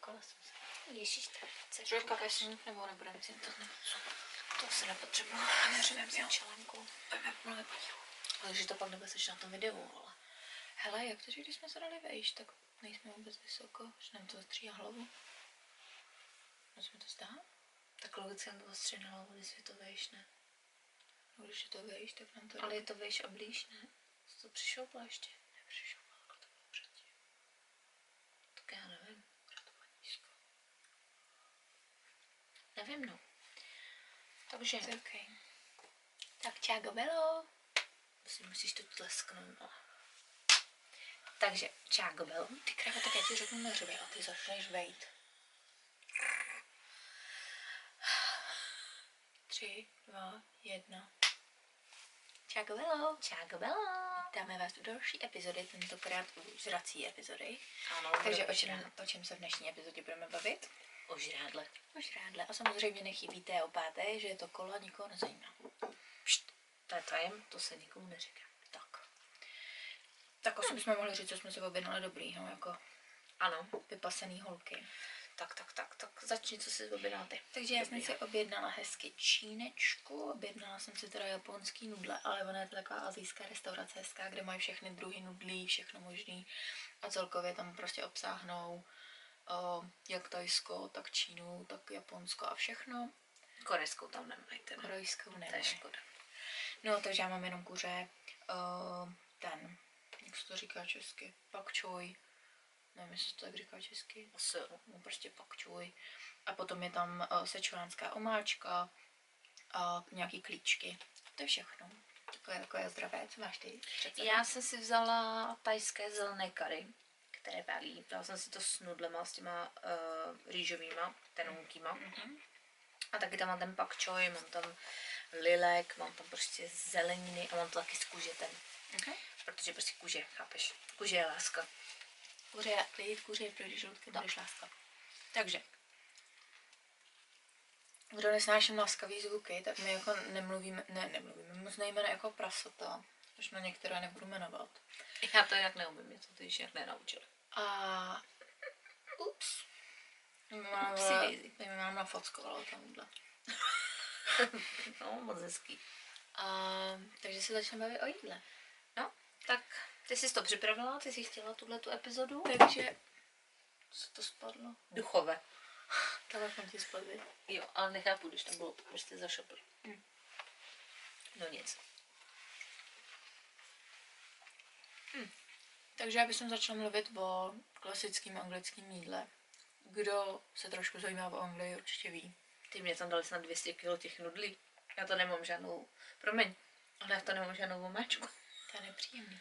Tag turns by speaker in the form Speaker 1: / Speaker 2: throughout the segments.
Speaker 1: kola jsem se.
Speaker 2: Ježíš, tak chceš
Speaker 1: Žojka vesník nebo nebudem si to nevím, co. To se nepotřebuje. Já že vem si čelenku. Ale že to pak nebude seš na tom videu, vole. Hele, jak to, že když jsme se dali vejš, tak nejsme vůbec vysoko, že nám to ostříhá hlavu. Moc mi to zdá? Tak logicky nám to ostří na hlavu, když je to vejš, ne? No, když je to vejš, tak nám to...
Speaker 2: Ale je to vejš a blíž, ne? jako
Speaker 1: Jsi to přišel pláště? Nepřišel, ale to bylo předtím. Tak já nevím, kde to bylo nízko.
Speaker 2: Nevím, no. Takže,
Speaker 1: To je okej.
Speaker 2: tak čágo belo.
Speaker 1: Musí, musíš to tlesknout, ale...
Speaker 2: no. Takže, čágo belo.
Speaker 1: Ty krávo, tak já ti řeknu neřvej a ty začneš vejít. Tři, dva, jedna.
Speaker 2: Čágo belo. Čágo belo.
Speaker 1: Dáme vás do další epizody, tentokrát u žrací epizody.
Speaker 2: Ano,
Speaker 1: Takže o čem, o čem se v dnešní epizodě budeme bavit?
Speaker 2: O žrádle.
Speaker 1: O žrádle. A samozřejmě nechybíte o páté, že to kola nikoho nezajímá.
Speaker 2: Pšt, to je tajem, to se nikomu neříká.
Speaker 1: Tak. Tak asi bychom mohli říct, co jsme si objednali dobrýho, jako
Speaker 2: Ano,
Speaker 1: vypasený holky.
Speaker 2: tak, tak, tak, tak začni, co si objednal ty.
Speaker 1: Takže já jsem
Speaker 2: Dobrý,
Speaker 1: si objednala hezky čínečku, objednala jsem si teda japonský nudle, ale ona je to taková azijská restaurace hezká, kde mají všechny druhy nudlí, všechno možný a celkově tam prostě obsáhnou o, jak Tajsko, tak Čínu, tak Japonsko a všechno.
Speaker 2: Korejskou tam nemají, teda.
Speaker 1: Korejskou
Speaker 2: To je
Speaker 1: nemají.
Speaker 2: škoda.
Speaker 1: No, takže já mám jenom kuře, uh, ten, jak se to říká česky, pak čoj, nevím, jestli se to tak říká česky,
Speaker 2: Asi jo.
Speaker 1: no prostě pak čoj. A potom je tam uh, sečuránská omáčka a nějaký klíčky. To je všechno. Takové, takové zdravé, co máš ty? Přece?
Speaker 2: Já jsem si vzala tajské zelené kary, které varí. Dala jsem si to s nudlema, s těma uh, rýžovýma, tenoukýma.
Speaker 1: Mhm.
Speaker 2: A taky tam mám ten pak choi, mám tam lilek, mám tam prostě zeleniny a mám to taky z kůže ten.
Speaker 1: Mhm.
Speaker 2: Protože prostě kůže, chápeš? Kůže je láska.
Speaker 1: Kuře je klid, kuře je proti žaludkem,
Speaker 2: Tak.
Speaker 1: budeš láska. Takže. Kdo nesnáší laskavý zvuky, tak my jako nemluvíme, ne, nemluvíme, moc nejméně jako prasata, už na některé nebudu jmenovat.
Speaker 2: Já to jinak neumím, mě to teď jinak nenaučili.
Speaker 1: A... Ups. Mám,
Speaker 2: Upsi daisy.
Speaker 1: my mám nafockovala tamhle.
Speaker 2: No, moc hezký.
Speaker 1: A, takže se začneme bavit o jídle.
Speaker 2: No, tak ty jsi to připravila, ty jsi chtěla tuhle tu epizodu?
Speaker 1: Takže... Co to spadlo?
Speaker 2: Duchové.
Speaker 1: Telefon ti spadl. viď?
Speaker 2: Jo, ale nechápu, když tam bylo prostě zašopli.
Speaker 1: Hm.
Speaker 2: No nic.
Speaker 1: Takže já bych začala mluvit o klasickém anglickém jídle. Kdo se trošku zajímá o Anglii, určitě ví.
Speaker 2: Ty mě tam dali snad 200 kg těch nudlí. Já to nemám žádnou, promiň, ale já to nemám žádnou omáčku.
Speaker 1: To je nepříjemný.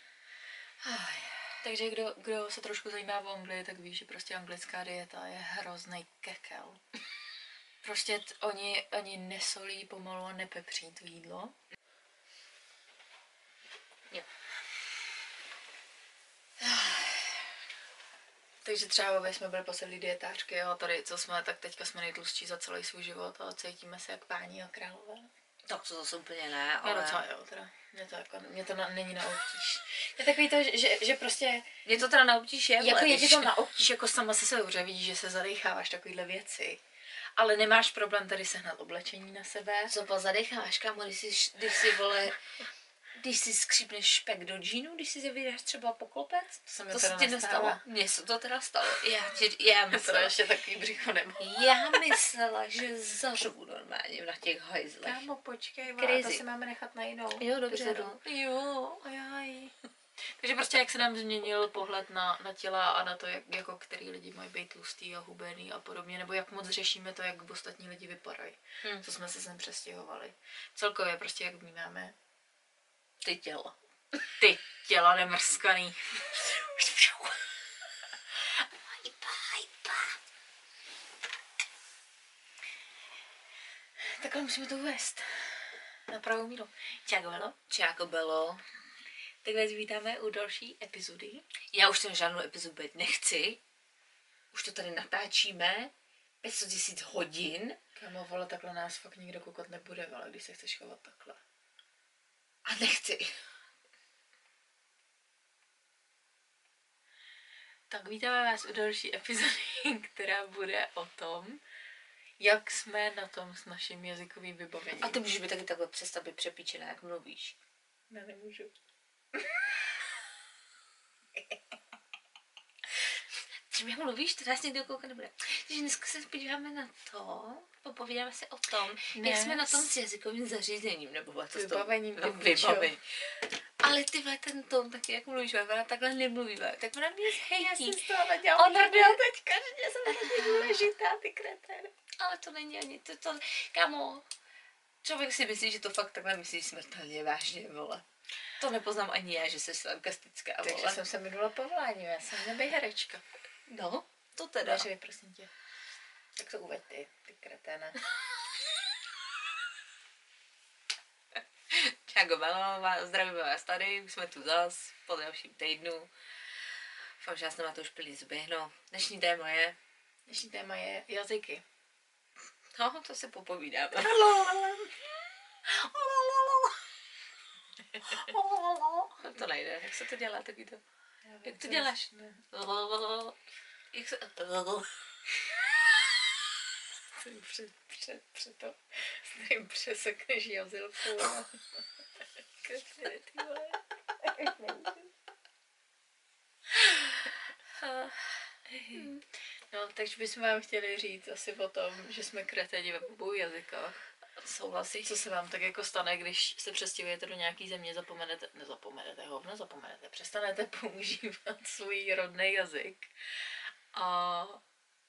Speaker 1: Takže kdo, kdo se trošku zajímá o Anglii, tak ví, že prostě anglická dieta je hrozný kekel. Prostě t- oni ani nesolí pomalu a nepepří to jídlo.
Speaker 2: Jo.
Speaker 1: Takže třeba my jsme byli posedlí dietářky, jo, tady co jsme, tak teďka jsme nejtlustší za celý svůj život a cítíme se jak páni a králové.
Speaker 2: Tak to zase úplně ne,
Speaker 1: Ale...
Speaker 2: ale...
Speaker 1: No docela jo, teda. Mě to, jako, mě to na, není na obtíž. Je takový to, že, že, že prostě
Speaker 2: Mě to teda na obtíž je,
Speaker 1: jako
Speaker 2: vole,
Speaker 1: je ti
Speaker 2: když-
Speaker 1: to na obtíž, jako sama se sebou, že vidíš, že se zadecháváš takovýhle věci. Ale nemáš problém tady sehnat oblečení na sebe.
Speaker 2: Co pa zadecháš, kámo, když si, když si vole... Když si skřípneš špek do džínu, když si zavíráš třeba poklopec,
Speaker 1: To se mi
Speaker 2: to
Speaker 1: teda
Speaker 2: se ti
Speaker 1: nestalo.
Speaker 2: nestalo. Mně se to teda stalo. Já, ti- já
Speaker 1: Já teda
Speaker 2: myslela,
Speaker 1: ještě takový břicho nemám.
Speaker 2: já myslela, že zařvu normálně na těch hajzlech.
Speaker 1: počkej,
Speaker 2: vole, Crazy. to si
Speaker 1: máme nechat na jinou.
Speaker 2: Jo, dobře, no.
Speaker 1: epizodu. Jo, ajaj. no. Takže prostě jak se nám změnil pohled na, na těla a na to, jak, jako který lidi mají být tlustý a hubený a podobně, nebo jak moc řešíme to, jak ostatní lidi vypadají,
Speaker 2: Hm.
Speaker 1: co jsme se sem přestěhovali. Celkově prostě jak vnímáme
Speaker 2: Ty tělo.
Speaker 1: ty těla nemrskaný. Takhle musíme to uvést. Na pravou míru. Čau, Velo.
Speaker 2: Čáko jako bylo.
Speaker 1: Tak vás vítáme u další epizody.
Speaker 2: Já už ten žádnou epizodu být nechci. Už to tady natáčíme. 500 tisíc hodin.
Speaker 1: Kamo, vole, takhle nás fakt nikdo koukat nebude, ale když se chceš chovat takhle.
Speaker 2: A nechci.
Speaker 1: Tak vítáme vás u další epizody, která bude o tom, jak jsme na tom s naším jazykovým vybavením.
Speaker 2: A ty můžeš být taky takhle přestat být přepíčená, jak mluvíš.
Speaker 1: Ne, nemůžu.
Speaker 2: Třeba jak mluvíš, to nás někdo koukat nebude. Takže dneska se podíváme na to, popovídáme se o tom, ne. jak jsme na tom s jazykovým zařízením, nebo vole, to s tou-
Speaker 1: Vybavením, ty
Speaker 2: no,
Speaker 1: pičo.
Speaker 2: vybavení. Ale ty vole, ten tom taky, jak mluvíš, vole, ona takhle nemluví, vole, tak ona mě hejtí.
Speaker 1: z toho nedělám
Speaker 2: Ona
Speaker 1: prdel
Speaker 2: byl
Speaker 1: teďka, že jsem na důležitá, ty kretén.
Speaker 2: Ale to není ani to, to, kamo. Člověk si myslí, že to fakt takhle myslí smrtelně vážně, vole. To nepoznám ani já, že jsi sarkastická,
Speaker 1: Takže
Speaker 2: vole.
Speaker 1: jsem se minula povolání, já jsem nebej herečka.
Speaker 2: No, to teda.
Speaker 1: Takže prosím tě. Tak to uveď ty, ty kreténe.
Speaker 2: Čago Belová, zdravíme vás tady, už jsme tu zas, po dalším týdnu. Doufám, že nás nemáte už plný zběhno. Dnešní téma je,
Speaker 1: Dnešní téma je jazyky.
Speaker 2: no, to si popovídáme.
Speaker 1: no,
Speaker 2: to nejde, jak se to dělá, taky to.
Speaker 1: Jak to
Speaker 2: to
Speaker 1: děláš?
Speaker 2: děláš? Jak se...
Speaker 1: Před, před, před to, s kterým přesekneš jazylku. Kreténe, ty vole. No, takže bychom vám chtěli říct asi o tom, že jsme kreténi ve obou jazykách.
Speaker 2: Souhlasíš?
Speaker 1: Co se vám tak jako stane, když se přestěhujete do nějaký země, zapomenete, nezapomenete ho, nezapomenete, přestanete používat svůj rodný jazyk a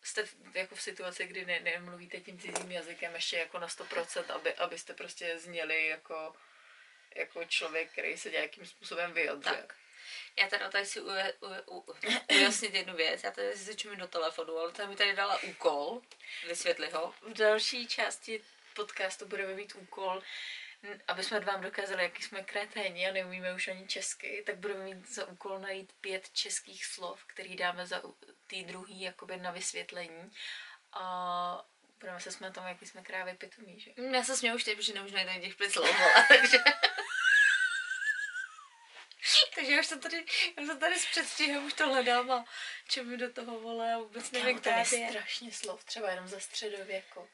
Speaker 1: jste v, jako v situaci, kdy ne, nemluvíte tím cizím jazykem ještě jako na 100%, aby, abyste prostě zněli jako, jako člověk, který se nějakým způsobem vyjadřuje.
Speaker 2: Tak. Já teda tady si uje, uje, u, ujasnit jednu věc. Já tady si začnu do telefonu, ale ta mi tady dala úkol. Vysvětli ho.
Speaker 1: V další části podcastu budeme mít úkol, n- aby jsme vám dokázali, jaký jsme kreténi a neumíme už ani česky, tak budeme mít za úkol najít pět českých slov, který dáme za u- tý druhý jakoby na vysvětlení. A budeme se smát tomu, jaký jsme krávy pitomí, že?
Speaker 2: Já se směju už teď, protože nemůžu najít ani těch pět slov, vole, takže... takže já už jsem tady, já jsem tady s předstihem už to hledám a čem mi do toho volá, vůbec nevím,
Speaker 1: Kámo, tam
Speaker 2: která
Speaker 1: je
Speaker 2: to je.
Speaker 1: strašně slov, třeba jenom ze středověku.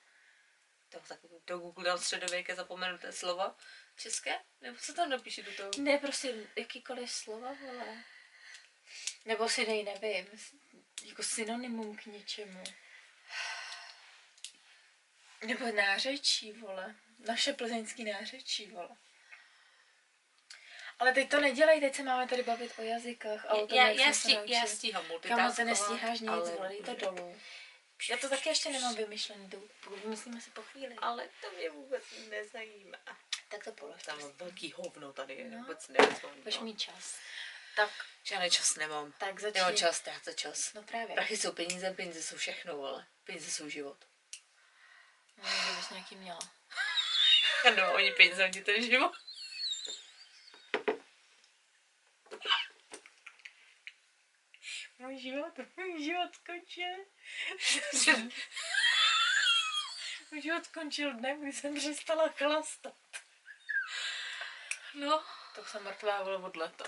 Speaker 2: To tak do Google dám středověké zapomenuté slova. České? Nebo co tam napíše do toho?
Speaker 1: Ne, prostě jakýkoliv slova, vole. Nebo si dej, nevím, s- jako synonymum k něčemu. Nebo nářečí, vole. Naše plzeňský nářečí, vole. Ale teď to nedělej, teď se máme tady bavit o jazykách a o tom,
Speaker 2: Já,
Speaker 1: jak
Speaker 2: já,
Speaker 1: jsme se
Speaker 2: sti, já
Speaker 1: naučili.
Speaker 2: stíhám
Speaker 1: Kamo,
Speaker 2: multitaskovat.
Speaker 1: ty nestíháš nic,
Speaker 2: ale-
Speaker 1: vole, dej to dolů. Já to taky ještě nemám vymyšlený, jdu- vymyslíme si po chvíli.
Speaker 2: Ale to mě vůbec nezajímá.
Speaker 1: Tak to polož.
Speaker 2: Tam velký hovno tady je,
Speaker 1: No.
Speaker 2: no. vůbec nevím, co
Speaker 1: Budeš
Speaker 2: mít...
Speaker 1: mít čas. Tak,
Speaker 2: Já ne, čas nemám.
Speaker 1: tak začni.
Speaker 2: Nemám čas, ztrácet čas.
Speaker 1: No právě.
Speaker 2: Prachy jsou peníze, peníze jsou všechno, vole. Peníze jsou život.
Speaker 1: No, že bys nějaký měla.
Speaker 2: Ano, No, oni peníze, oni ten život.
Speaker 1: Můj život, můj život skončil. Můj život skončil dnem, kdy jsem přestala chlastat.
Speaker 2: no.
Speaker 1: To jsem mrtvá vole od leta.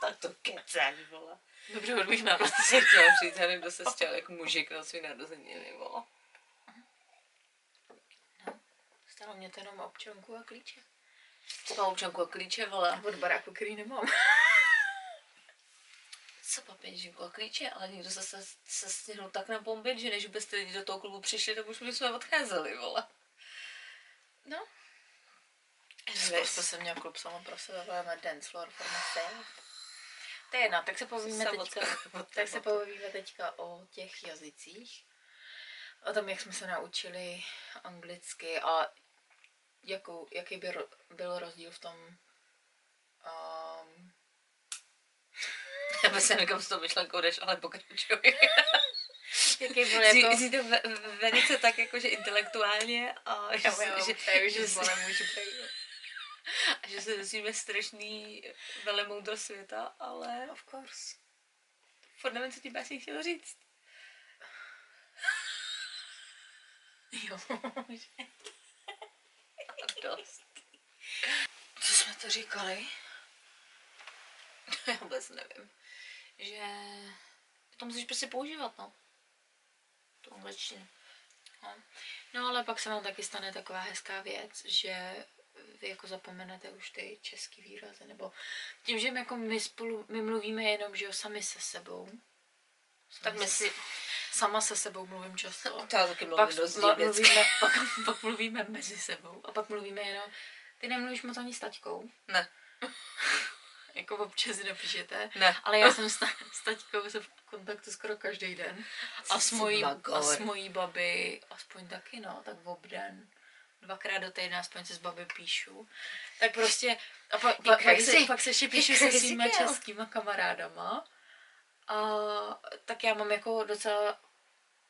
Speaker 2: Tak to kecáš, vole.
Speaker 1: Dobře, od mých narozenin.
Speaker 2: Co jsem chtěla říct, já nevím, kdo se stěl jak mužik na svý narozeniny, vole.
Speaker 1: Stalo mě to jenom občanku a klíče.
Speaker 2: Třeba občanku a klíče,
Speaker 1: A
Speaker 2: vole.
Speaker 1: od baráku, který nemám.
Speaker 2: Co papěžinku a klíče, ale někdo se, se, se stihnul tak nabombit, že než byste lidi do toho klubu přišli, tak už bychom odcházeli, vole.
Speaker 1: No.
Speaker 2: Vůbec.
Speaker 1: Prostě jsem měla klub sama pro sebe, máme dance floor for myself. To je jedno, tak se povíme teďka. Tak se pobavíme teďka o těch jazycích. O tom, jak jsme se naučili anglicky a jakou, jaký by ro- byl rozdíl v tom... Um,
Speaker 2: Já bych se nekam s tou myšlenkou jdeš, ale pokračuji.
Speaker 1: jaký byl
Speaker 2: Zní,
Speaker 1: No, jako...
Speaker 2: zní to ve, velice tak jakože intelektuálně a že,
Speaker 1: Já, já,
Speaker 2: že,
Speaker 1: já,
Speaker 2: že,
Speaker 1: že
Speaker 2: si-
Speaker 1: to nemůžu přejít.
Speaker 2: a že se dozvíme strašný velemoudro světa, ale
Speaker 1: Of course.
Speaker 2: furt nevím, co ti Bási chtěl říct.
Speaker 1: Jo.
Speaker 2: A dost.
Speaker 1: Co jsme to říkali?
Speaker 2: Já vůbec nevím.
Speaker 1: že to musíš prostě používat, no. Tu angličtinu. No. no ale pak se vám taky stane taková hezká věc, že vy jako zapomenete už ty český výrazy, nebo tím, že jako my spolu, my mluvíme jenom, že jo, sami se sebou.
Speaker 2: Tak my si...
Speaker 1: Sama se sebou mluvím často
Speaker 2: Já taky
Speaker 1: pak
Speaker 2: mluvím dost
Speaker 1: ma-
Speaker 2: mluvím.
Speaker 1: mluvíme, pak, pak mluvíme mezi sebou a pak mluvíme jenom, ty nemluvíš moc ani s taťkou,
Speaker 2: Ne,
Speaker 1: jako občas si napíšete,
Speaker 2: ne.
Speaker 1: ale já jsem s, ta, s taťkou jsem v kontaktu skoro každý den a s,
Speaker 2: Jsi
Speaker 1: mojí,
Speaker 2: magor.
Speaker 1: a s mojí babi aspoň taky no, tak v obden. Dvakrát do týdne aspoň se s babi píšu. Tak prostě, a pa, pa, pak, se,
Speaker 2: crazy.
Speaker 1: pak se ještě
Speaker 2: Je
Speaker 1: píšu se
Speaker 2: crazy
Speaker 1: svýma
Speaker 2: girl.
Speaker 1: českýma kamarádama. A tak já mám jako docela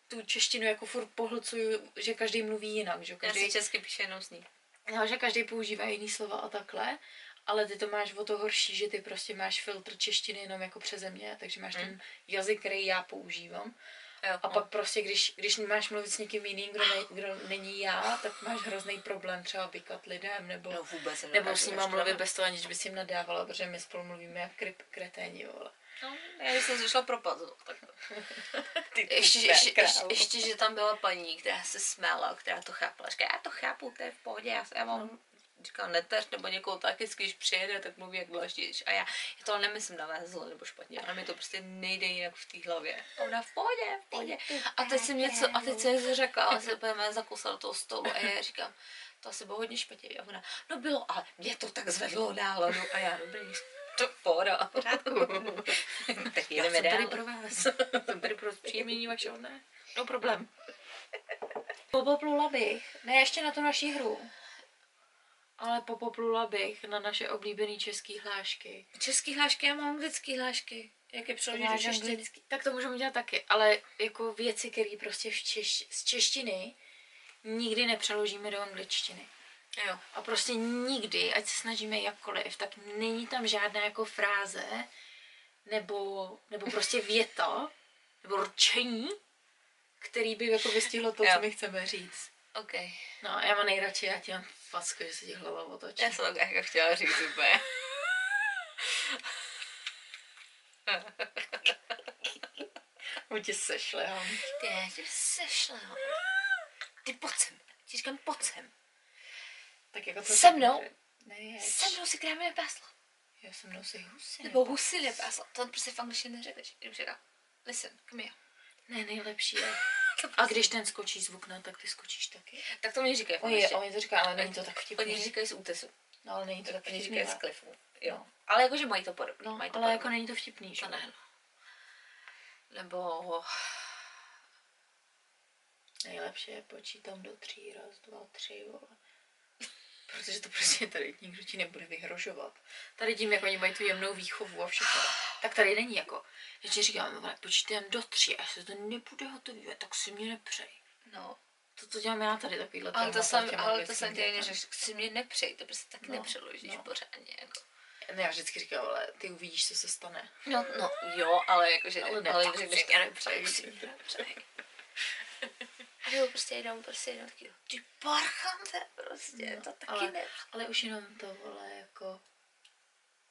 Speaker 1: tu češtinu jako furt pohlcuju, že každý mluví jinak, že jo?
Speaker 2: Já
Speaker 1: každý
Speaker 2: si česky píšu jenom s ní.
Speaker 1: No, že každý používá jiný slova a takhle, ale ty to máš o to horší, že ty prostě máš filtr češtiny jenom jako přeze mě, takže máš ten jazyk, který já používám.
Speaker 2: Jo,
Speaker 1: A pak prostě, když, když máš mluvit s někým jiným, kdo, ne, kdo není já, tak máš hrozný problém třeba vykat lidem, nebo,
Speaker 2: no, vůbec se
Speaker 1: nebo
Speaker 2: nedokážu
Speaker 1: s nima
Speaker 2: naštvat.
Speaker 1: mluvit bez toho, aniž bys jim nadávala, protože my spolu mluvíme jak kryp, kreténi, vole.
Speaker 2: No, já když jsem zašla propadnout, tak to.
Speaker 1: Ty
Speaker 2: Ještě, ještě, ještě, ještě, že tam byla paní, která se smála, která to chápala. Říká, já to chápu, to je v pohodě, já, se, já mám říkám neteř nebo někoho taky, když přijede, tak mluví jak dlaždíš. A já, já to nemyslím na vás zlo nebo špatně, ale mi to prostě nejde jinak v té hlavě. A Ona v pohodě, v pohodě. A teď jsem něco, a teď jsem něco řekla, a se budeme zakousla do toho stolu a já říkám, to asi bylo hodně špatně. A ona, no bylo, ale mě to tak zvedlo náladu. A já, dobrý, to pohoda. tak
Speaker 1: Já
Speaker 2: jdeme
Speaker 1: jsem tady
Speaker 2: dál.
Speaker 1: pro vás. jsem tady pro příjemnění vašeho dne. No problém. Popoplula bych, ne ještě na tu naši hru, ale popoplula bych na naše oblíbené české hlášky.
Speaker 2: Český hlášky, já mám anglický hlášky. Jak je přeložit do
Speaker 1: Máš
Speaker 2: češtiny?
Speaker 1: anglicky- Tak to můžeme dělat taky, ale jako věci, které prostě v češ- z češtiny nikdy nepřeložíme do angličtiny.
Speaker 2: Jo.
Speaker 1: A prostě nikdy, ať se snažíme jakkoliv, tak není tam žádná jako fráze, nebo, nebo prostě věta, nebo rčení, který by jako vystihlo to,
Speaker 2: Jo.
Speaker 1: co my chceme říct.
Speaker 2: OK.
Speaker 1: No, já mám nejradši, já ti mám facku, že se ti hlava otočí.
Speaker 2: Já jsem tak jako chtěla říct úplně.
Speaker 1: Mu tě sešle, hon.
Speaker 2: Ty, já tě sešla. jo. Ty pojď sem. Ti říkám, pojď sem.
Speaker 1: Tak jako to...
Speaker 2: Se mnou?
Speaker 1: Ne, jeď.
Speaker 2: Se mnou si krámě nepásla.
Speaker 1: Já se mnou si husy.
Speaker 2: Nebo husy nepásla. To prostě v angličtině neřekneš. Jenom říká, listen, come here.
Speaker 1: Ne, nejlepší je. A když ten skočí z okna, tak ty skočíš taky.
Speaker 2: Tak to mi říkají v
Speaker 1: Oni,
Speaker 2: angličtině.
Speaker 1: oni to říká, ale není to tak
Speaker 2: Oni
Speaker 1: vtipný.
Speaker 2: říkají z útesu.
Speaker 1: No, ale není to tak
Speaker 2: Oni
Speaker 1: vtipný.
Speaker 2: říkají z
Speaker 1: ale-
Speaker 2: klifu. Jo.
Speaker 1: No.
Speaker 2: Ale jakože mají to podobný.
Speaker 1: No,
Speaker 2: mají to
Speaker 1: ale
Speaker 2: podobný.
Speaker 1: jako není to vtipný, že?
Speaker 2: To
Speaker 1: jo?
Speaker 2: ne, no. Nebo...
Speaker 1: Nejlepší je počítám do tří, raz, dva, tři, vole. Protože to prostě tady nikdo ti nebude vyhrožovat. Tady tím, jak oni mají tu jemnou výchovu a všechno, tak tady není jako, že ti říkám, vole, počítám do tří, až se to nebude hotové, tak si mě nepřej.
Speaker 2: No,
Speaker 1: To, co dělám já tady, takovýhle
Speaker 2: ale to
Speaker 1: témata
Speaker 2: jsem,
Speaker 1: těm
Speaker 2: ale to
Speaker 1: anglickým
Speaker 2: jsem ty
Speaker 1: dětem.
Speaker 2: že si mě nepřej, to prostě tak
Speaker 1: No,
Speaker 2: nepřeložíš
Speaker 1: no.
Speaker 2: pořádně, jako.
Speaker 1: Ne, já vždycky říkám, ale ty uvidíš, co se stane.
Speaker 2: No, no, jo, ale jakože,
Speaker 1: Ale
Speaker 2: ale,
Speaker 1: ne,
Speaker 2: ne, ale
Speaker 1: tak
Speaker 2: řekneš,
Speaker 1: si-
Speaker 2: já nepřeji,
Speaker 1: tak si-
Speaker 2: si Prostě mě nepřeji. A jo, prostě jenom, prostě jenom taky, ty parchante, prostě,
Speaker 1: No,
Speaker 2: to taky
Speaker 1: ale-
Speaker 2: ale... ne.
Speaker 1: Ale už jenom to, vole, jako...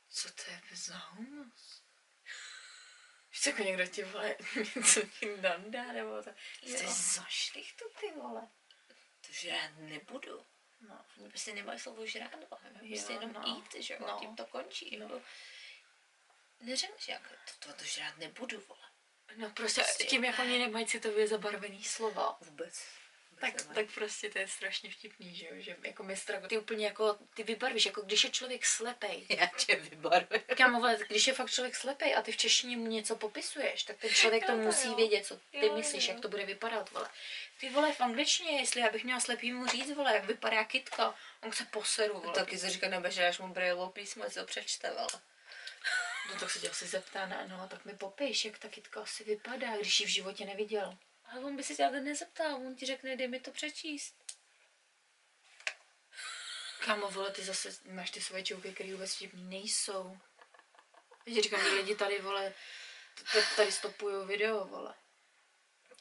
Speaker 1: Co to je za humus? Víš, jako někdo ti, vole, něco ti nandá, nebo to... Jsi
Speaker 2: Jo.
Speaker 1: zašlich to, ty vole.
Speaker 2: To žrát nebudu.
Speaker 1: No.
Speaker 2: Oni prostě nemají slovo žrát, ale prostě
Speaker 1: Jo,
Speaker 2: jenom
Speaker 1: no.
Speaker 2: jít, že jo,
Speaker 1: No.
Speaker 2: no. tím to končí,
Speaker 1: No.
Speaker 2: no. jako. Neřekneš, jak, to, to, to žrát nebudu, vole.
Speaker 1: No prostě,
Speaker 2: Prostě
Speaker 1: tím, jak
Speaker 2: ne.
Speaker 1: oni nemají citově zabarvený slova,
Speaker 2: Vůbec. Vůbec
Speaker 1: tak,
Speaker 2: nemám.
Speaker 1: tak prostě to je strašně vtipný, že jo, že jako mistra, ty úplně jako, ty vybarvíš, jako když je člověk slepej.
Speaker 2: Já tě vybarvím.
Speaker 1: Kámo, vole, když je fakt člověk slepej a ty v češtině mu něco popisuješ, tak ten člověk to
Speaker 2: Jo, to
Speaker 1: musí
Speaker 2: jo.
Speaker 1: vědět, co ty
Speaker 2: Jo,
Speaker 1: myslíš,
Speaker 2: jo.
Speaker 1: jak to bude vypadat, vole. Ty vole, v angličtině, jestli já bych měla slepýmu říct, vole, jak vypadá kytka, on se poseru, vole.
Speaker 2: Taky se říká, nebežráš mu brejlo písmo, co přečte, vole.
Speaker 1: No tak se tě asi zeptá, ne, no, tak mi popiš, jak ta kytka asi vypadá, když ji v životě neviděl.
Speaker 2: Ale on by se tě ale nezeptal, on ti řekne, dej mi to přečíst.
Speaker 1: Kámo, vole, ty zase máš ty svoje čouky, které vůbec vtipný nejsou. Já ti říkám, ty lidi tady, vole, t- t- tady stopují video, vole.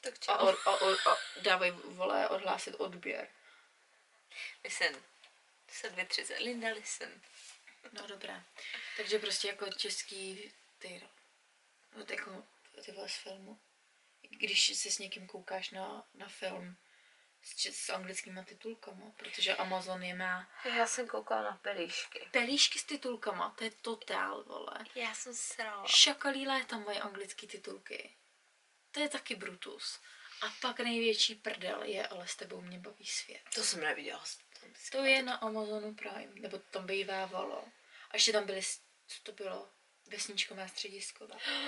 Speaker 2: Tak čau.
Speaker 1: A, or, a, or, a dávají, vole, odhlásit odběr.
Speaker 2: Listen. Se dvě třicet. Linda, listen.
Speaker 1: No dobré. Takže prostě jako český ty no, No tak jako ty vole z filmu. Když se s někým koukáš na, na film s, če- s anglickýma titulkama, protože Amazon je má
Speaker 2: Já jsem koukala na pelíšky.
Speaker 1: pelíšky s titulkama, to je totál, vole.
Speaker 2: Já jsem srala.
Speaker 1: Šakalí léta mají anglické titulky. To je taky Brutus. A pak největší prdel je Ale s tebou mě baví svět.
Speaker 2: To jsem neviděla.
Speaker 1: To je na Amazonu Prime, nebo to tam bývávalo. A ještě tam byly, s- co to bylo? Vesničková střediskova.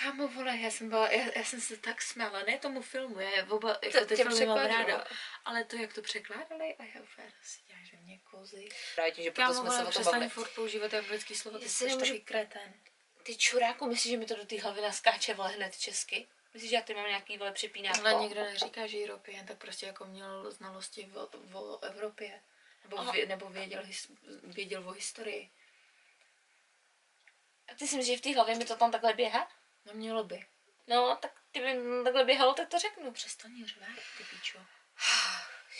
Speaker 1: Kámo, vole, já jsem, byla, já, já jsem se tak smála, ne tomu filmu, já oba, jako ty
Speaker 2: tě
Speaker 1: filmy mám
Speaker 2: překvapilo.
Speaker 1: ráda, ale to, jak to překládali, a já úplně si dělá, že mě kozy.
Speaker 2: Rádi, že proto
Speaker 1: Kámo,
Speaker 2: jsme se
Speaker 1: vole,
Speaker 2: o tom
Speaker 1: přestaň
Speaker 2: bavili.
Speaker 1: furt používat anglický slovo, ty
Speaker 2: Jestli
Speaker 1: jsi
Speaker 2: nemůžu-
Speaker 1: takový kretén.
Speaker 2: Ty čuráku, myslíš, že mi to do té hlavy naskáče vole hned česky? Myslíš, že já tady mám nějaký vole přepínátko?
Speaker 1: Ale nikdo neříká, že European, tak prostě jako měl znalosti o, o Evropě. Nebo,
Speaker 2: Aha.
Speaker 1: vě, nebo věděl, his, věděl o historii.
Speaker 2: A ty si myslíš, že v té hlavě mi to tam takhle běhá?
Speaker 1: Nemělo by.
Speaker 2: No, tak kdyby mi takhle běhalo, tak to řeknu.
Speaker 1: Přestaň řvát, ty píčo.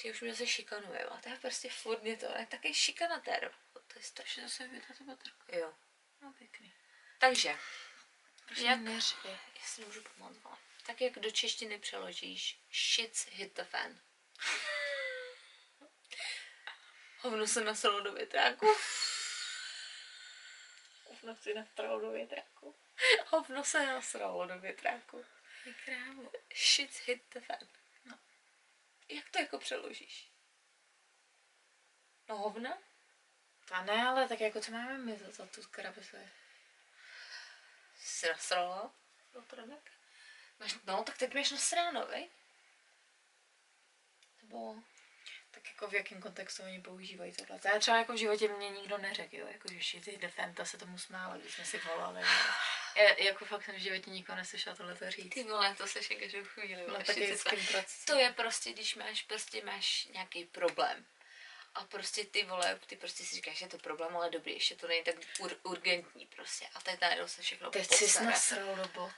Speaker 2: Že už mě se šikanuje, a to je prostě furt mě to, ale taky šikanatér. To je strašně.
Speaker 1: Že zase vydat baterku.
Speaker 2: Jo.
Speaker 1: No pěkný.
Speaker 2: Takže,
Speaker 1: Prostě
Speaker 2: Jak-
Speaker 1: Jak? neřvi.
Speaker 2: já si nemůžu pomoct, vole. Tak jak do češtiny přeložíš, shit's hit the fan. Hovno se naselo do větráku.
Speaker 1: Ufno si nastralo do větraku.
Speaker 2: Hovno se nasralo do větráku.
Speaker 1: Krávo.
Speaker 2: Shit's hit the fan.
Speaker 1: No.
Speaker 2: Jak to jako přeložíš? No hovna?
Speaker 1: A ne, ale tak jako co máme my za, za tu krabicu?
Speaker 2: Jsi nasrala? No to tak. Máš, no, tak teď máš nasráno, vej? Nebo...
Speaker 1: Tak jako v jakém kontextu oni používají tohle. To já třeba jako v životě mě nikdo neřekl, jo. Jako, že shit hit the fan, ta se tomu smála, když jsme si volali. jo. Já, jako fakt jsem v životě nikoho neslyšela tohle říct.
Speaker 2: Ty vole, to se každou chvíli.
Speaker 1: No
Speaker 2: vole,
Speaker 1: tak je
Speaker 2: shit
Speaker 1: s
Speaker 2: the fan.
Speaker 1: kým pracuješ.
Speaker 2: To je prostě, když máš, prostě máš nějaký problém. A prostě ty vole, ty prostě si říkáš, že je to problém, ale dobrý, ještě to není tak ur- urgentní prostě. A teď najednou se všechno
Speaker 1: Teď jsi
Speaker 2: posere.
Speaker 1: nasral robot.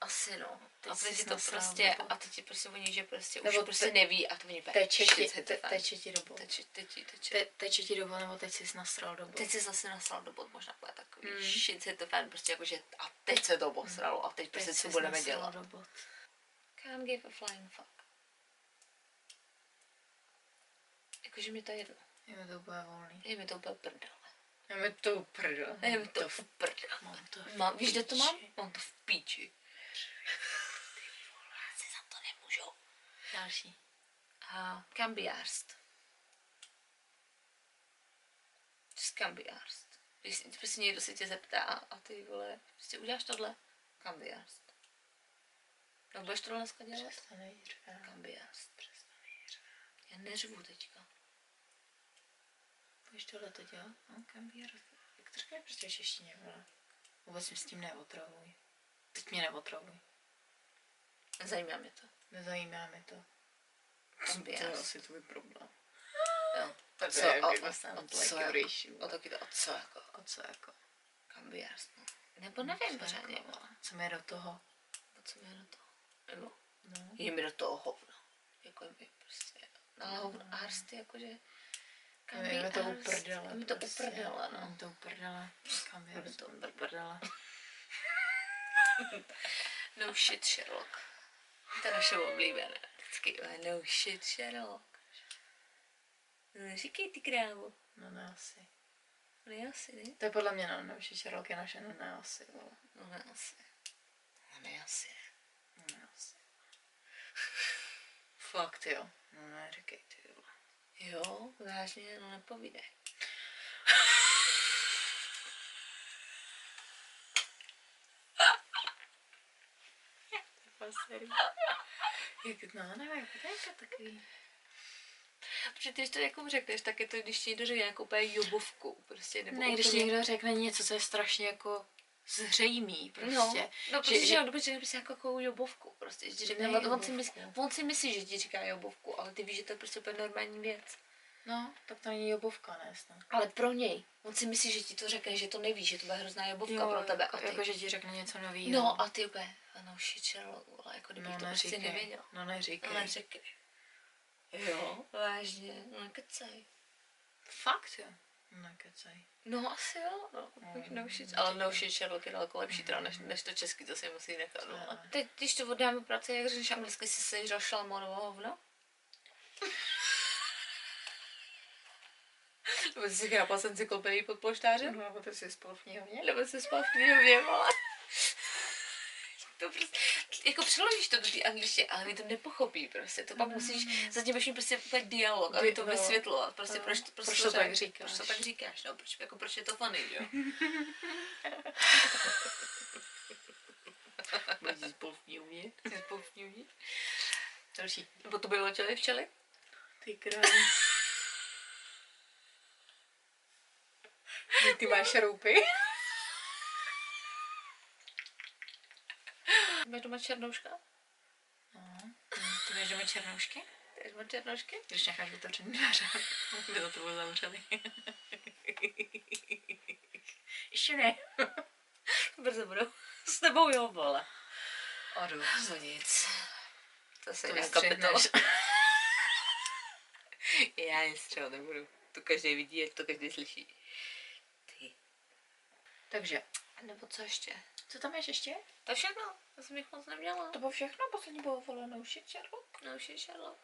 Speaker 2: Asi no.
Speaker 1: Teď
Speaker 2: a
Speaker 1: jsi
Speaker 2: teď ti to
Speaker 1: nasral,
Speaker 2: prostě,
Speaker 1: nebo-
Speaker 2: a teď ti prostě oni, že prostě
Speaker 1: Nebo
Speaker 2: už prostě
Speaker 1: te-
Speaker 2: neví a to oni
Speaker 1: Teče ti,
Speaker 2: shit hit the
Speaker 1: te-
Speaker 2: fan.
Speaker 1: teče ti robot.
Speaker 2: Teče, teče, teče.
Speaker 1: Te, teče ti robot, nebo teď jsi nasral robot.
Speaker 2: Teď se zase nasral do bod, možná bude takový
Speaker 1: Mm.
Speaker 2: mm. shit hit the fan, prostě jakože a teď se to posralo a teď prostě
Speaker 1: Teď
Speaker 2: co
Speaker 1: jsi
Speaker 2: budeme
Speaker 1: nasral
Speaker 2: dělat.
Speaker 1: Robot.
Speaker 2: Can't give a flying fuck. Jakože mi to je jedno.
Speaker 1: Je mi to úplně volný.
Speaker 2: Je mi to úplně prdele.
Speaker 1: Je mi to prdel.
Speaker 2: Je mi to v prdele.
Speaker 1: Mám to v
Speaker 2: Mám, víš, kde to mám?
Speaker 1: píči.
Speaker 2: Mám to v píči. Asi za to nemůžou.
Speaker 1: Další.
Speaker 2: A kambiárst. Skambiárst. Když si- prostě někdo se tě zeptá a ty vole, prostě uděláš tohle? Kambiárst. No budeš tohle dneska dělat?
Speaker 1: Přestanej řvát.
Speaker 2: Kambiárst.
Speaker 1: Přestanej řvát.
Speaker 2: Já neřvu teďka.
Speaker 1: Budeš tohle to dělat? No, kam je roz- Jak to říkají prostě v češtině, vole? Vůbec mě s tím neotravuj. Teď mě neotravuj.
Speaker 2: Zajímá mě to.
Speaker 1: Nezajímá mi to.
Speaker 2: Kambiárst.
Speaker 1: asi tvůj problém.
Speaker 2: Jo.
Speaker 1: Tak
Speaker 2: Co,
Speaker 1: to je
Speaker 2: a-
Speaker 1: jako
Speaker 2: a-
Speaker 1: sound
Speaker 2: a co
Speaker 1: like
Speaker 2: jako?
Speaker 1: your issue.
Speaker 2: O taky to, a co jako?
Speaker 1: A co jako?
Speaker 2: Kambiárst. No. Nebo nevím
Speaker 1: Co
Speaker 2: pořádně.
Speaker 1: jako, vole? Co mi do toho?
Speaker 2: Nebo co mě do toho. Nebo
Speaker 1: No.
Speaker 2: je mi do toho hovno. Jako je mi prostě, no ale hovno arst je jakože, kam
Speaker 1: Je mi to
Speaker 2: arst,
Speaker 1: uprdele.
Speaker 2: Je mi to
Speaker 1: prostě.
Speaker 2: uprdele,
Speaker 1: Je
Speaker 2: no.
Speaker 1: mi to uprdele. Kam je
Speaker 2: Je mi to
Speaker 1: to uprdele?
Speaker 2: No shit Sherlock. To je naše oblíbené. Vždycky, jo, no shit Sherlock. No, říkej ty krávo.
Speaker 1: No ne asi.
Speaker 2: No já si, ne?
Speaker 1: To je podle mě na novší Sherlock je naše no ne asi, vole.
Speaker 2: No ne asi. No ne asi.
Speaker 1: No ne asi. Fakt jo. No ne, říkej ty vole.
Speaker 2: Jo, vážně, no nepovídej.
Speaker 1: Jak, no nevím, to je to takový.
Speaker 2: Protože ty, když to někomu řekneš, tak je to, když ti někdo řekne nějakou úplně jobovku. Prostě, nebo
Speaker 1: Ne, když
Speaker 2: úplně-
Speaker 1: někdo řekne něco, co je strašně jako zřejmý
Speaker 2: No,
Speaker 1: prostě. že-
Speaker 2: no protože že,
Speaker 1: že-
Speaker 2: jo, dobře, že bys jako takovou jobovku, prostě, že ti řekne,
Speaker 1: Ne,
Speaker 2: on, on, si myslí,
Speaker 1: jobovku.
Speaker 2: on si myslí, že ti říká jobovku, ale ty víš, že to je prostě úplně normální věc.
Speaker 1: No, tak to není jobovka, ne snad.
Speaker 2: Ale pro něj, on si myslí, že ti to řekne, že to nevíš, že to bude hrozná jobovka jo, pro tebe.
Speaker 1: Jako,
Speaker 2: a ty,
Speaker 1: jako, že ti řekne něco nového.
Speaker 2: no a ty úplně, ano, shit, Sherlock, vole, jako kdybych
Speaker 1: no,
Speaker 2: to prostě
Speaker 1: neříkej.
Speaker 2: nevěděl.
Speaker 1: No neříkej.
Speaker 2: Ale řekni. Jo, vážně, no kecej.
Speaker 1: Fakt jo. Nekecej.
Speaker 2: No asi jo, no.
Speaker 1: Mm.
Speaker 2: no shit, ale no shit Sherlock je daleko lepší teda, než, než to český, to si musí nechat no.
Speaker 1: To jo.
Speaker 2: doma. Teď, když to oddáme práci, jak řekneš anglicky, si sežral šalmonovo no, hovno? Nebo jsi chápal jsem si koupil pod polštářem?
Speaker 1: No, nebo ty jsi spal v knihovně?
Speaker 2: Nebo se spal v knihovně, vole. To prostě, jako přeložíš to do té angličtiny, ale my to nepochopí prostě. To pak
Speaker 1: No,
Speaker 2: musíš,
Speaker 1: no.
Speaker 2: zatím musíš mít prostě úplně dialog, aby to
Speaker 1: No.
Speaker 2: vysvětlovat. Prostě
Speaker 1: No.
Speaker 2: proč, to-
Speaker 1: Proč to
Speaker 2: to
Speaker 1: tak
Speaker 2: řek-
Speaker 1: říkáš?
Speaker 2: Proč to tak říkáš, no, proč, jako proč je to funny, jo?
Speaker 1: Budíš spal v knihovně?
Speaker 2: Ty jsi byl v knihovně?
Speaker 1: Další.
Speaker 2: Nebo to bylo těli včely?
Speaker 1: Ty králi. Ty máš šroupy?
Speaker 2: Máš doma černouška?
Speaker 1: No. Ty máš doma černoušky?
Speaker 2: Ty máš černoušky?
Speaker 1: Když necháš otevřený dveře, by za tebou zavřeli. Ještě ne.
Speaker 2: Brzo budou s tebou jo, vole. Odu z Vodic. No To no. se
Speaker 1: To
Speaker 2: jiná
Speaker 1: vystřihneš.
Speaker 2: kapitola. Já nic třeba nebudu. To každý vidí, ať to každý slyší. Ty.
Speaker 1: Takže,
Speaker 2: Nebo co ještě?
Speaker 1: co tam máš ještě?
Speaker 2: To všechno. Já jsem jich moc neměla.
Speaker 1: To No, bylo všechno, poslední bylo voleno už je červo.
Speaker 2: No už je Sherlock.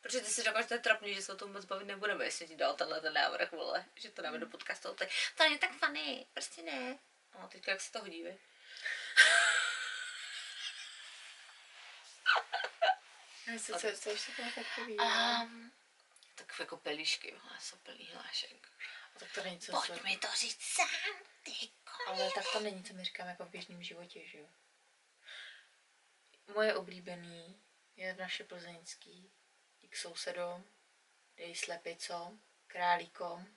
Speaker 2: Protože ty si řekla, že to je trapný, že se o tom moc bavit nebudeme, jestli ti dal tenhle ten návrh, vole, že to dáme do podcastu. To, je- to není tak funny, prostě ne. Hmm. No, teďka jak se to hodí, vy?
Speaker 1: Co, co, co ještě tam tak takový?
Speaker 2: Um, tak jako pelíšky, vole, jsou plný hlášek.
Speaker 1: Tak to není co
Speaker 2: Pojď
Speaker 1: se...
Speaker 2: mi to říct sám, ty ko-
Speaker 1: Ale tak to není, co mi říkám jako v běžném životě, že jo. Moje oblíbený je naše plzeňský. Jdi k sousedům, dej slepicom, králíkom. No,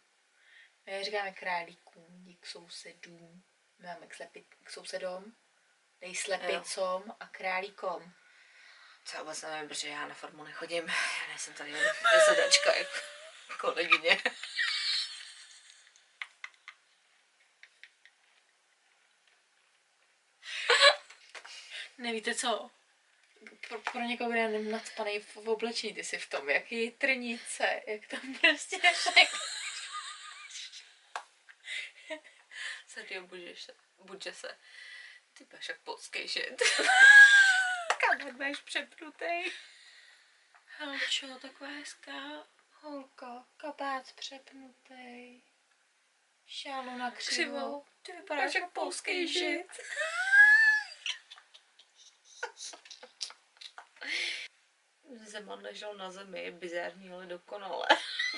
Speaker 1: My je říkáme králíkům, jdi k sousedům. My máme k, slepi, k sousedům, dej slepicom a králíkom.
Speaker 2: Co já vůbec nevím, protože já na farmu nechodím. Já nejsem tady zadačka jako kolegyně.
Speaker 1: Nevíte co? Pro, pro někoho, kdo je nadspanej v, v oblečení, ty si v tom, jak je trnice, jak tam prostě všechno.
Speaker 2: Sergio, budeš se. Budže se. Ty budeš jak polský žid. Kam budeš přepnutej?
Speaker 1: Helčo, taková hezká holka, kabát přepnutý, šálo na křivo.
Speaker 2: Křivo. Ty vypadáš
Speaker 1: jako
Speaker 2: jak jako polský žid. Zeman ležel na zemi, je bizarní, ale dokonale.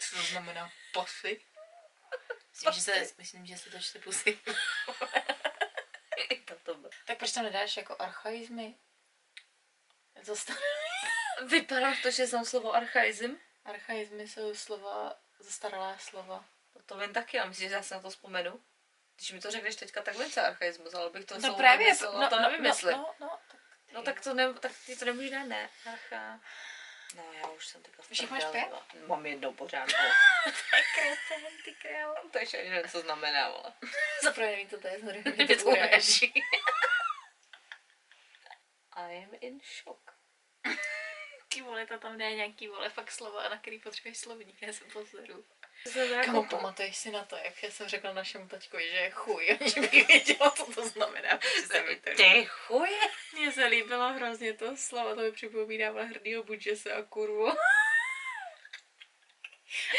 Speaker 1: Co to znamená posy? Myslím, že se, myslím, že se to čte pusy.
Speaker 2: Tato byla.
Speaker 1: Tak proč to nedáš jako archaizmy? Zastan-
Speaker 2: Vypadá to, že znám slovo archaizm.
Speaker 1: archaizmy jsou slova, zastaralá slova.
Speaker 2: No to vím taky, já myslím, že já se na to vzpomenu. Když mi to řekneš teďka, tak vím, co je archaismus, ale bych to
Speaker 1: No
Speaker 2: slovo
Speaker 1: právě,
Speaker 2: nevymyslela,
Speaker 1: no,
Speaker 2: to
Speaker 1: no,
Speaker 2: nevím, jestli.
Speaker 1: No, no, no, tak, ty-
Speaker 2: No tak to ne, tak ty to nemůžeš dát, ne? Archa. No já už jsem teďka v
Speaker 1: Už jich máš
Speaker 2: prdeli,
Speaker 1: pět?
Speaker 2: vole. Mám jednou pořád, vole.
Speaker 1: kretén, ty král.
Speaker 2: To ještě ani nevím, co znamená, vole.
Speaker 1: Za prvé nevím, co to je, zhodu
Speaker 2: Mě to uráží. I'm in shock.
Speaker 1: Ty vole, to tam dá nějaký vole fakt slova, na který potřebuješ slovník, já se pozoru. Jako-
Speaker 2: To jako- znamená
Speaker 1: Kamo,
Speaker 2: kopa.
Speaker 1: pamatuješ si na to, jak já jsem řekla našemu taťkovi, že je chuj, že by věděla, co to znamená. protože jsem jí to
Speaker 2: Ty chuje.
Speaker 1: Mně se líbilo hrozně to slovo, to mi připomíná vole hrdýho budžese a kurvu.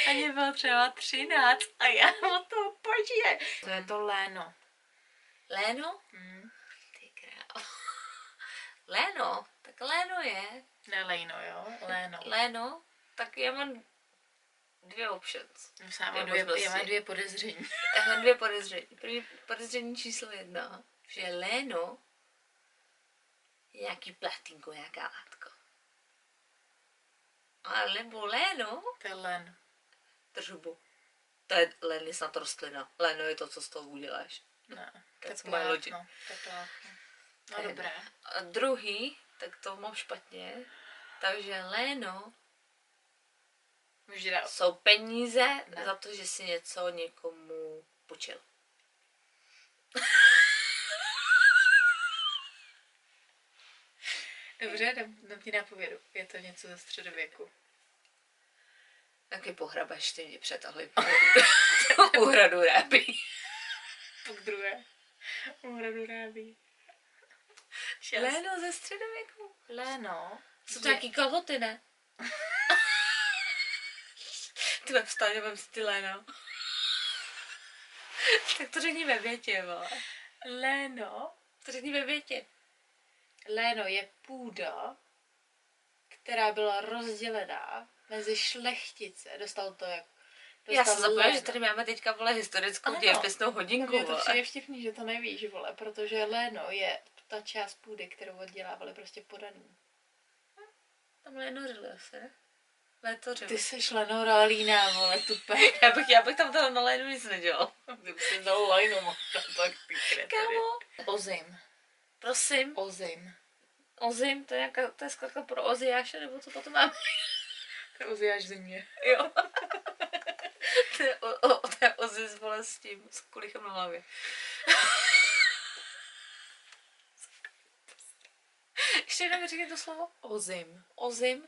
Speaker 1: A mě bylo třeba třináct a já od toho počíje. To je to léno.
Speaker 2: Léno?
Speaker 1: Hmm.
Speaker 2: Ty král. Léno? Tak léno je.
Speaker 1: Ne lejno, jo? Léno.
Speaker 2: Léno? no, Tak já mám dvě options.
Speaker 1: Já mám
Speaker 2: Ty
Speaker 1: dvě,
Speaker 2: možnosti.
Speaker 1: já mám dvě podezření.
Speaker 2: Já mám dvě podezření. První podezření číslo jedna, že Léno je nějaký platinko, nějaká látko. A nebo Léno
Speaker 1: To je len.
Speaker 2: tržbu. To je len je snad rostlina. Léno je to, co z toho uděláš.
Speaker 1: Ne.
Speaker 2: That's my logic.
Speaker 1: To je plátno. No
Speaker 2: To je-
Speaker 1: dobré.
Speaker 2: A druhý, tak to mám špatně, takže Léno
Speaker 1: Můžu dát.
Speaker 2: jsou peníze
Speaker 1: Ne.
Speaker 2: za to, že si něco někomu půjčil.
Speaker 1: Dobře, dám, dám ti nápovědu. Je to něco ze středověku.
Speaker 2: Taky pohrabeš, ty mě přetahli po úhradu rábí.
Speaker 1: Pak druhé. Úhradu rábí.
Speaker 2: Léno ze středověku.
Speaker 1: Léno.
Speaker 2: Jsou to
Speaker 1: je-
Speaker 2: nějaký kalhoty, ne? ty ve no. vstaně vem si ty léno. tak to řekni ve větě, vole.
Speaker 1: Léno.
Speaker 2: To řekni ve větě.
Speaker 1: Léno je půda, která byla rozdělená mezi šlechtice. Dostal to jak...
Speaker 2: Já jsem zapomněla,
Speaker 1: léno.
Speaker 2: že tady máme teďka, vole, historickou
Speaker 1: Ano.
Speaker 2: dějepisnou
Speaker 1: No,
Speaker 2: hodinku,
Speaker 1: Mně to
Speaker 2: vole.
Speaker 1: přijde vtipný, že to nevíš, vole, protože léno je ta část půdy, kterou oddělávali prostě podaný.
Speaker 2: Tam lenořili asi, ne? Letořili.
Speaker 1: Ty seš lenorálína, vole, tupé.
Speaker 2: Já bych, já bych tam toho na lénu nic nedělal.
Speaker 1: Kdyby si vzal lajnu, možná tak ty
Speaker 2: Kámo.
Speaker 1: Ozim,
Speaker 2: Prosím.
Speaker 1: ozim.
Speaker 2: Ozim, to je, nějaká, to je zkrátka pro Oziáše, nebo co potom máme?
Speaker 1: Oziáš země.
Speaker 2: Jo. to, je o, o, to je Ozi s vole s tím, s kulichem na hlavě. Ještě jednou mi řekni to slovo.
Speaker 1: Ozim.
Speaker 2: Ozim.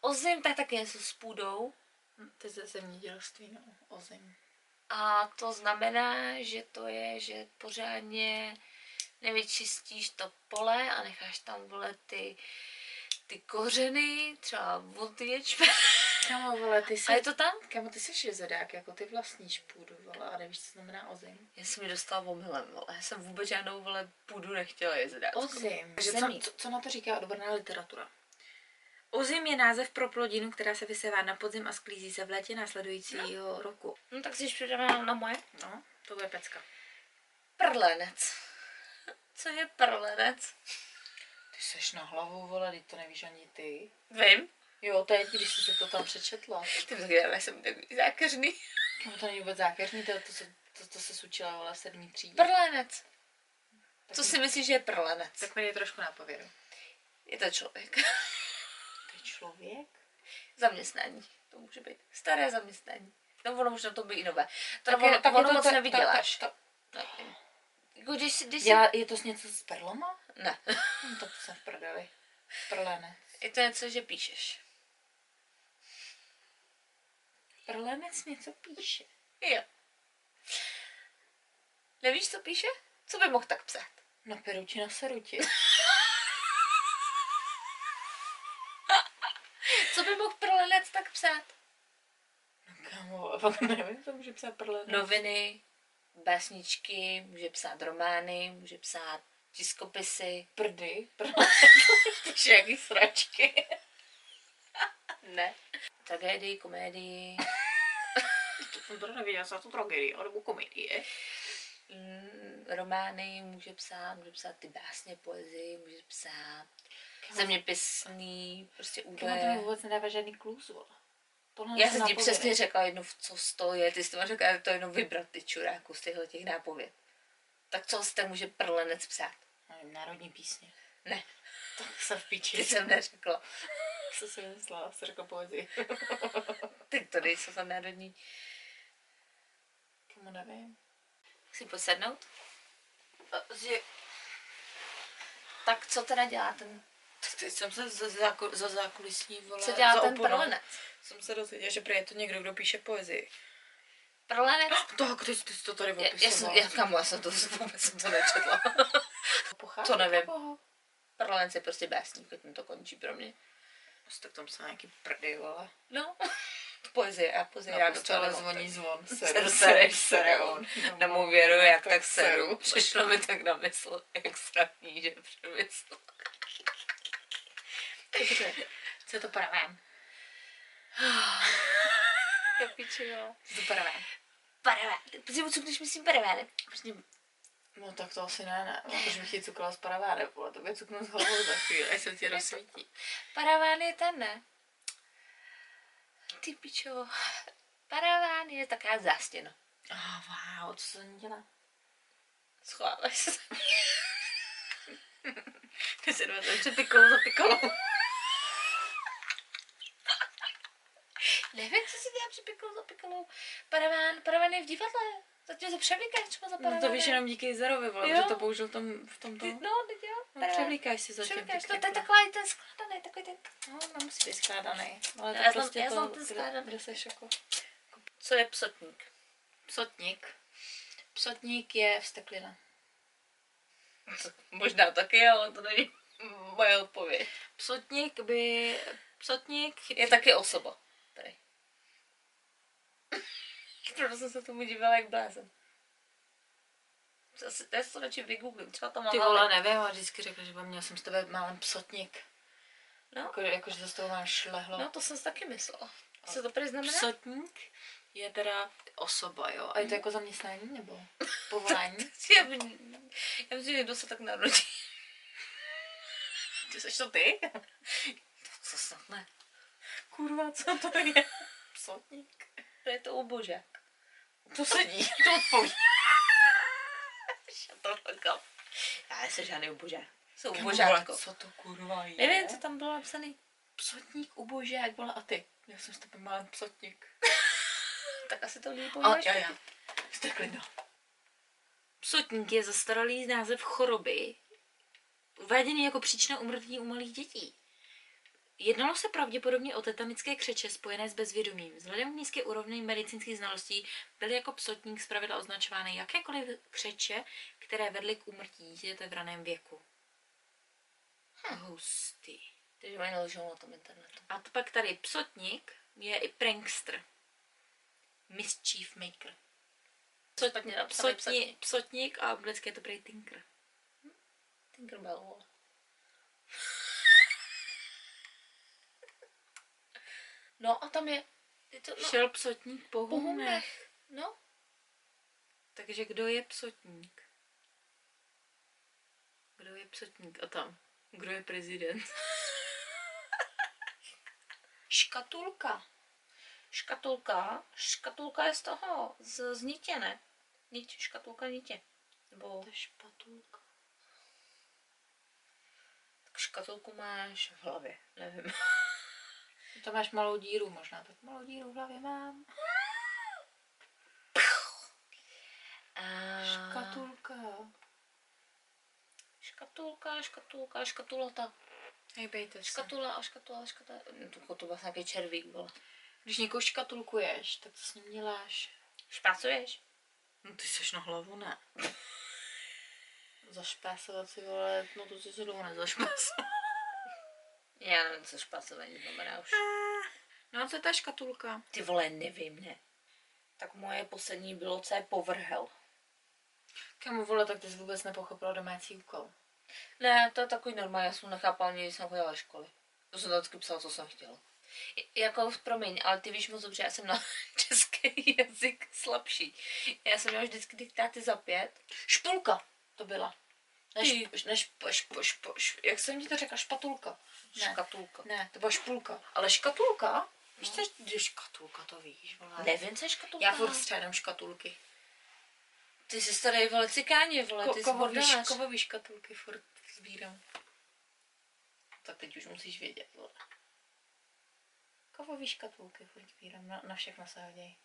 Speaker 2: Ozim, tak taky něco s půdou.
Speaker 1: To je ze zemědělství, no. Ozim.
Speaker 2: A to znamená, že to je, že pořádně nevyčistíš to pole a necháš tam vole ty, ty kořeny, třeba od ječme.
Speaker 1: Kámo, vole, ty jsi...
Speaker 2: A je to tam?
Speaker 1: Kámo, ty jsi jezedák, jako ty vlastníš půdu, vole, a nevíš, co znamená ozim.
Speaker 2: Já jsem mi dostala omylem, vole. Já jsem vůbec žádnou vole půdu nechtěla jezdit.
Speaker 1: Ozim.
Speaker 2: Takže co-
Speaker 1: Zemí. Co, co na to říká odborná literatura? Ozim je název pro plodinu, která se vysévá na podzim a sklízí se v létě následujícího no. roku.
Speaker 2: No tak si již přidáme na, na moje.
Speaker 1: No, to bude pecka.
Speaker 2: Prlenec. Co je prlenec?
Speaker 1: Ty seš na hlavu, vole, teď to nevíš ani ty.
Speaker 2: Vím.
Speaker 1: Jo, teď, když jsi si to tam přečetla.
Speaker 2: Ty bych já jsem takový zákeřný.
Speaker 1: Kámo, to není vůbec zákeřní, to, to, se, to, to se učila vole v sedmý třídě.
Speaker 2: Prlenec. Co si myslíš, že je prlenec?
Speaker 1: Tak mi je trošku na pověru.
Speaker 2: Je to člověk.
Speaker 1: To je člověk?
Speaker 2: zaměstnání. To může být staré zaměstnání. No ono může to být i nové. To tak
Speaker 1: je-
Speaker 2: ono, tak ono
Speaker 1: je to-
Speaker 2: moc
Speaker 1: to-
Speaker 2: nevyděláš.
Speaker 1: to- to-
Speaker 2: Nevím. Jako když, si- když si...
Speaker 1: Dělá, je to s něco s perlama?
Speaker 2: Ne.
Speaker 1: Hm, to jsem v prdeli. Prlenec.
Speaker 2: Je to něco, že píšeš.
Speaker 1: Prlenec něco píše.
Speaker 2: Jo. Nevíš, co píše? Co by mohl tak psát?
Speaker 1: Na peruči, na seruti.
Speaker 2: Co by mohl prlenec tak psát?
Speaker 1: No kámo, fakt nevím, co může psát prlenec.
Speaker 2: Noviny, básničky, může psát romány, může psát tiskopisy.
Speaker 1: prdy. Prlenec. Píše jaký sračky.
Speaker 2: Ne. Tragédii, komédii.
Speaker 1: To jsem to nevěděla, jsem to tragédii, nebo komedie.
Speaker 2: Mm, romány může psát, může psát ty básně, poezii, může psát zeměpisný prostě
Speaker 1: Kámo, to mi
Speaker 2: údaje.
Speaker 1: vůbec nedává žádný kluz, vole. Tohle
Speaker 2: Já jsem ti
Speaker 1: napověď.
Speaker 2: přesně řekla jednu, v co z toho je, ty jsi to máš řekla, to jenom vybrat ty čuráku z těchto těch nápověd. Tak co jste může prlenec psát?
Speaker 1: Nevím, národní písně.
Speaker 2: Ne,
Speaker 1: Tak se v
Speaker 2: ty
Speaker 1: píči.
Speaker 2: jsem neřekla.
Speaker 1: Co si myslela, jsi řekla poezii.
Speaker 2: Ty to nejsou tam národní.
Speaker 1: Tomu nevím.
Speaker 2: Chci posednout? Že... Tak co teda dělá ten,
Speaker 1: Tak teď jsem se za, záku, za zákulisní vole.
Speaker 2: co dělá
Speaker 1: za
Speaker 2: ten
Speaker 1: oponou.
Speaker 2: prlenec?
Speaker 1: Jsem se dozvěděla, že prý je to někdo, kdo píše poezii.
Speaker 2: Prlenec?
Speaker 1: Tak, teď ty jsi to tady
Speaker 2: Já, já, jsem,
Speaker 1: opisovala.
Speaker 2: já, kamu, já jsem to vůbec jsem to nečetla.
Speaker 1: Pochází
Speaker 2: to nevím.
Speaker 1: koho?
Speaker 2: Prlenec je prostě básník, tím to končí pro mě.
Speaker 1: Asi tak tam se nějaký prdy, vole.
Speaker 2: No. Poezie, já poezie
Speaker 1: Na
Speaker 2: ráda no,
Speaker 1: postele
Speaker 2: docela nemám.
Speaker 1: zvoní zvon.
Speaker 2: Seru, sereš, sere on. Nemu věru, jak tak seru. Přišlo mi tak na mysl, jak strašný, že přemysl.
Speaker 1: Dobře, co je to paraván?
Speaker 2: To pičilo.
Speaker 1: Co je to paraván?
Speaker 2: Paraván. Protože ucukneš myslím paravánem.
Speaker 1: Prostě... No tak to asi ne, ne. No, Proč bych ti cukla z paravánem, vole. To by cuknu z hlavou za chvíli, až se ti rozsvítí.
Speaker 2: Paraván je ten, ne? Ty pičilo. Paraván je taková zástěna.
Speaker 1: Oh, wow, co se ní dělá?
Speaker 2: Schováváš se.
Speaker 1: Ty se dva začne pikolou za pikolou.
Speaker 2: Nevím, co si dělá při pikolou za pikolou. Paraván, paraván je v divadle. Zatím se převlíkáš třeba za
Speaker 1: No to víš
Speaker 2: paravánem.
Speaker 1: jenom díky Zerovi, vole,
Speaker 2: Jo.
Speaker 1: že to použil v tom, v tom
Speaker 2: Ty,
Speaker 1: tom.
Speaker 2: no, teď jo.
Speaker 1: No,
Speaker 2: teda-
Speaker 1: převlíkáš si zatím. jako-
Speaker 2: Převlíkáš to,
Speaker 1: pěkně,
Speaker 2: to je
Speaker 1: vole.
Speaker 2: takový ten skladaný, takový ten...
Speaker 1: No, nemusí být skládaný. Ale to
Speaker 2: Já znám-
Speaker 1: prostě
Speaker 2: já
Speaker 1: to,
Speaker 2: znám ten
Speaker 1: kde-
Speaker 2: skládaný.
Speaker 1: Kde seš jako...
Speaker 2: Co je psotník?
Speaker 1: Psotník. Psotník je vsteklina.
Speaker 2: Možná taky, ale to není moje odpověď.
Speaker 1: Psotník by... Psotník chytí...
Speaker 2: Je taky osoba. Tady. Proto jsem se tomu divila jak blázen. Asi to je to radši vygooglím, třeba to mám.
Speaker 1: Ty
Speaker 2: ale-
Speaker 1: vole, nevím, No, ale vždycky řekla, že měl jsem s tebe málem psotník.
Speaker 2: No.
Speaker 1: No. Jako, jako, že to z toho mám šlehlo.
Speaker 2: No to jsem si taky myslela. Co to tady znamená?
Speaker 1: Psotník je teda osoba, jo? A je to jako zaměstnání nebo povolání?
Speaker 2: Já, myslím, já myslím, že někdo se tak narodí.
Speaker 1: Ty seš to ty?
Speaker 2: Co snad ne?
Speaker 1: Kurva, co to je? Psotník.
Speaker 2: To je to ubožák.
Speaker 1: To sedí, to odpoví.
Speaker 2: Shut the fuck up. Já nejsem žádný ubožák. Jsou
Speaker 1: Ty
Speaker 2: ubožátko.
Speaker 1: vole, Co to kurva je?
Speaker 2: Nevím, co tam bylo napsaný.
Speaker 1: Psotník, ubožák, byla a ty. Já jsem s tebe málem psotník.
Speaker 2: Tak asi to lidi
Speaker 1: A
Speaker 2: používáš.
Speaker 1: já, já. Steklina. Psotník je zastaralý název choroby, uváděný jako příčina umrtí u malých dětí. Jednalo se pravděpodobně o tetanické křeče spojené s bezvědomím. Vzhledem k nízké úrovni medicínských znalostí byly jako psotník zpravidla označovány jakékoliv křeče, které vedly k úmrtí dítěte v raném věku. Hm. Hustý.
Speaker 2: Takže mají naložil na tom internetu.
Speaker 1: A to pak tady psotník je i prankster. Mischief maker.
Speaker 2: Co špatně napsaný
Speaker 1: Psotní, psotník a anglicky je to prej tinker.
Speaker 2: Tinkerbell, vole. No a tam je... je to, no,
Speaker 1: Šel psotník po
Speaker 2: po
Speaker 1: humnech.
Speaker 2: humnech. No,
Speaker 1: Takže kdo je psotník? Kdo je psotník? A tam. Kdo je prezident?
Speaker 2: škatulka. Škatulka. Škatulka je z toho, z, z nitě, ne? Nitě, škatulka nitě. Nebo
Speaker 1: To je špatulka.
Speaker 2: tak škatulku máš v hlavě, nevím.
Speaker 1: To máš malou díru možná. Tak malou díru v hlavě mám.
Speaker 2: A...
Speaker 1: Škatulka.
Speaker 2: Škatulka, škatulka, škatulota.
Speaker 1: Hejbejte se.
Speaker 2: Škatula a škatula, škatula. No, to- to byl nějaký červík, vole.
Speaker 1: Když někoho škatulkuješ, tak co s ním děláš?
Speaker 2: Špacuješ?
Speaker 1: No ty seš na hlavu, ne? Zašpásovat si, vole, no to si si dlouho nezašpásovat.
Speaker 2: Já nevím, co špacování znamená už.
Speaker 1: No a co je ta škatulka?
Speaker 2: Ty vole, nevím, ne. Tak moje poslední bylo, co je povrhel.
Speaker 1: Kamu vole, tak ty jsi vůbec nepochopila domácí úkol.
Speaker 2: Ne, to je takový normál, já jsem nechápal, nic jsem chodila do školy. To jsem vždycky psala, co jsem chtěla. J- Jako, promiň, ale ty víš moc dobře, já jsem na český jazyk slabší. Já jsem měla vždycky diktáty za pět.
Speaker 1: Špulka to byla. Než,
Speaker 2: Ty.
Speaker 1: než, šp, šp, šp, jak jsem ti to řekla, špatulka. Ne.
Speaker 2: Škatulka.
Speaker 1: Ne, to byla špulka. Ale škatulka? Víš, co je škatulka, to víš, vole.
Speaker 2: Nevím, co je škatulka.
Speaker 1: Já furt střádám škatulky.
Speaker 2: Ty jsi starý vole cikáně, vole, ty jsi bordelář.
Speaker 1: kovový škatulky furt sbírám. Tak teď už musíš vědět, vole. Kovový škatulky furt sbírám, na, na všechno se hodí.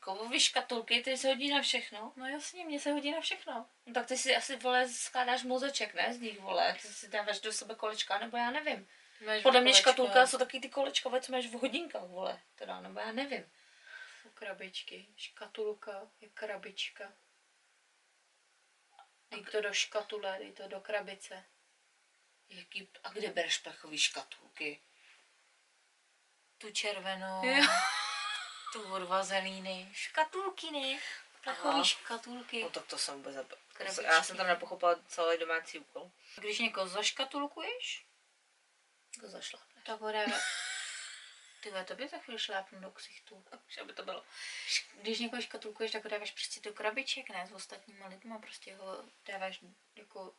Speaker 2: Kovový škatulky, ty se hodí na všechno.
Speaker 1: No jasně, mě se hodí na všechno.
Speaker 2: No tak ty si asi, vole, skládáš mozeček, ne, z nich, vole. Ty si dáváš do sebe kolečka, nebo já nevím.
Speaker 1: Máš
Speaker 2: Podle mě škatulka jsou taky ty kolečkové, co máš v hodinkách, vole. Teda, nebo já nevím.
Speaker 1: Jsou krabičky. Škatulka je krabička. Dej to do škatule, dej to do krabice.
Speaker 2: Jaký, a kde bereš plechový škatulky?
Speaker 1: Tu červenou,
Speaker 2: Jo.
Speaker 1: tu od vazelíny. Škatulky, ne?
Speaker 2: Aha.
Speaker 1: Takový škatulky.
Speaker 2: No tak to jsem vůbec nepo...
Speaker 1: Krabičky.
Speaker 2: Já jsem tam nepochopila celý domácí úkol.
Speaker 1: Když někoho zaškatulkuješ,
Speaker 2: To Jako zašla.
Speaker 1: tak ho dáme. Ty vole, tobě za chvíli šlápnu do ksichtu.
Speaker 2: Už aby to bylo.
Speaker 1: Když někoho škatulkuješ, tak ho dáváš prostě do krabiček, ne s ostatníma lidma, prostě ho dáváš jako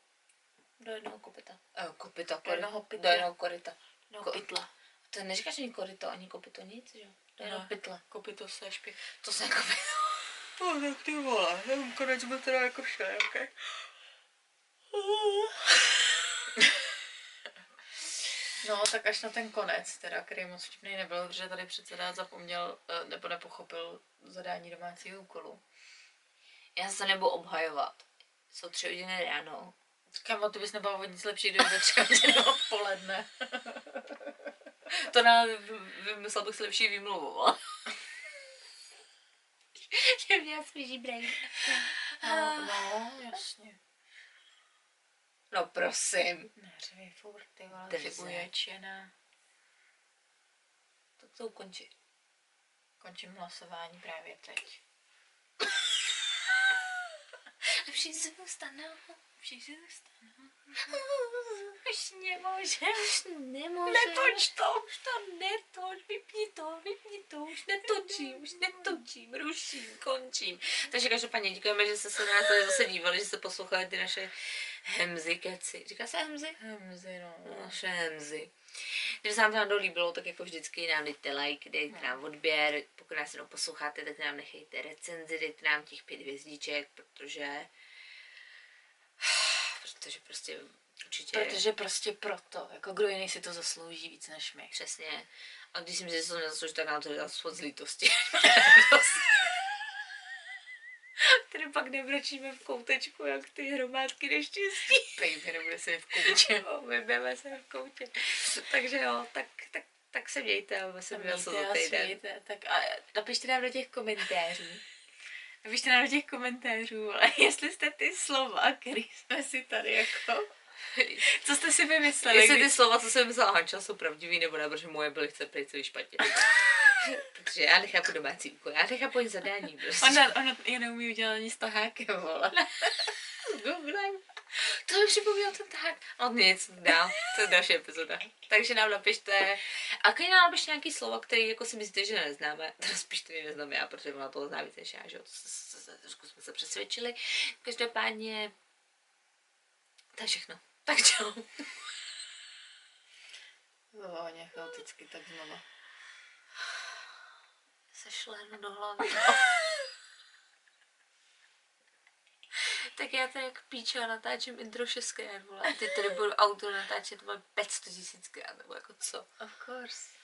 Speaker 2: Do jednoho kopyta. Eh, kopyta,
Speaker 1: Do jednoho
Speaker 2: koryta.
Speaker 1: pytle.
Speaker 2: Do jednoho koryta.
Speaker 1: do
Speaker 2: Ko-
Speaker 1: pytla.
Speaker 2: No. To neříkáš ani koryto, ani kopyto, nic, že jo? Do jednoho
Speaker 1: Ne.
Speaker 2: pytle.
Speaker 1: Kopyto se špěch.
Speaker 2: To jako jsem kopyto.
Speaker 1: No, tak ty vole, nevím, konec byl teda jako všelijaký. No, tak až na ten konec, teda, který moc vtipný nebyl, protože tady předseda zapomněl eh, nebo nepochopil zadání domácího úkolu.
Speaker 2: Já se nebudu obhajovat. Jsou tři hodiny ráno.
Speaker 1: Kamo, ty bys nebyla o nic lepší, kdyby ve tři hodiny odpoledne.
Speaker 2: To na vymyslel bych si lepší výmluvu, ale... Že měla svěží brain.
Speaker 1: No, no jasně.
Speaker 2: No prosím.
Speaker 1: Neřvi furt, ty vole,
Speaker 2: Drze.
Speaker 1: ty uječená.
Speaker 2: Tak to ukončí.
Speaker 1: Končím hlasování právě teď.
Speaker 2: Lepší zůstanu. Lepší zůstanu. Už nemůžem. Už nemůžem.
Speaker 1: to!
Speaker 2: Už to netoč, vypni to, vypni to, už netočím, už netočím, ruším, končím. Takže každopádně děkujeme, že jste se na nás tady zase dívali, že jste poslouchali ty naše hemzy keci. Říká se hemzy?
Speaker 1: Hemzi, no.
Speaker 2: Naše hemzy. Kdyby se vám to náhodou líbilo, tak jako vždycky nám dejte like, dejte nám odběr, pokud nás jenom posloucháte, tak nám nechejte recenzi, dejte nám těch pět hvězdiček, protože... Protože prostě určitě...
Speaker 1: Protože prostě proto, jako kdo jiný si to zaslouží víc než my.
Speaker 2: Přesně. A když si myslím, že to nezaslouží, tak nám to dá svod z lítosti. Tady pak nevračíme v koutečku, jak ty hromádky neštěstí.
Speaker 1: Baby, nebude se v kouče.
Speaker 2: Jo, Vybeme Oh, se v koutě. Takže jo, tak, tak, tak se mějte a my se mějte
Speaker 1: Mějte
Speaker 2: za
Speaker 1: a
Speaker 2: týden.
Speaker 1: smějte. Tak a napište nám do těch komentářů. Napište nám do těch komentářů, ale jestli jste ty slova, který jsme si tady jako... Co jste si vymysleli?
Speaker 2: Jestli
Speaker 1: když-
Speaker 2: ty slova, co jsem myslela Hanča, jsou pravdivý nebo ne, protože moje byly chce pryč celý špatně. Protože já nechápu domácí úkol, já nechápu jen zadání. Prostě.
Speaker 1: Ona, ona je neumí udělat ani s tahákem, vole.
Speaker 2: Googlem. To mi připomněl ten tak. On nic, dál. To je další epizoda. Takže nám napište. A když nám napište nějaký slova, které jako si myslíte, že neznáme, to spíš tedy neznám já, protože ona toho zná víc než já, že jo. To se- se- se- Trošku jsme se přesvědčili. Každopádně, to je všechno. Tak čau.
Speaker 1: Jo, nějak No, chaoticky, tak znova.
Speaker 2: Sešlenu do hlavy. tak já tady jak píče a natáčím intro šestkrát, vole. A ty tady budu auto natáčet, vole, 500 tisíckrát, nebo jako co.
Speaker 1: Of course.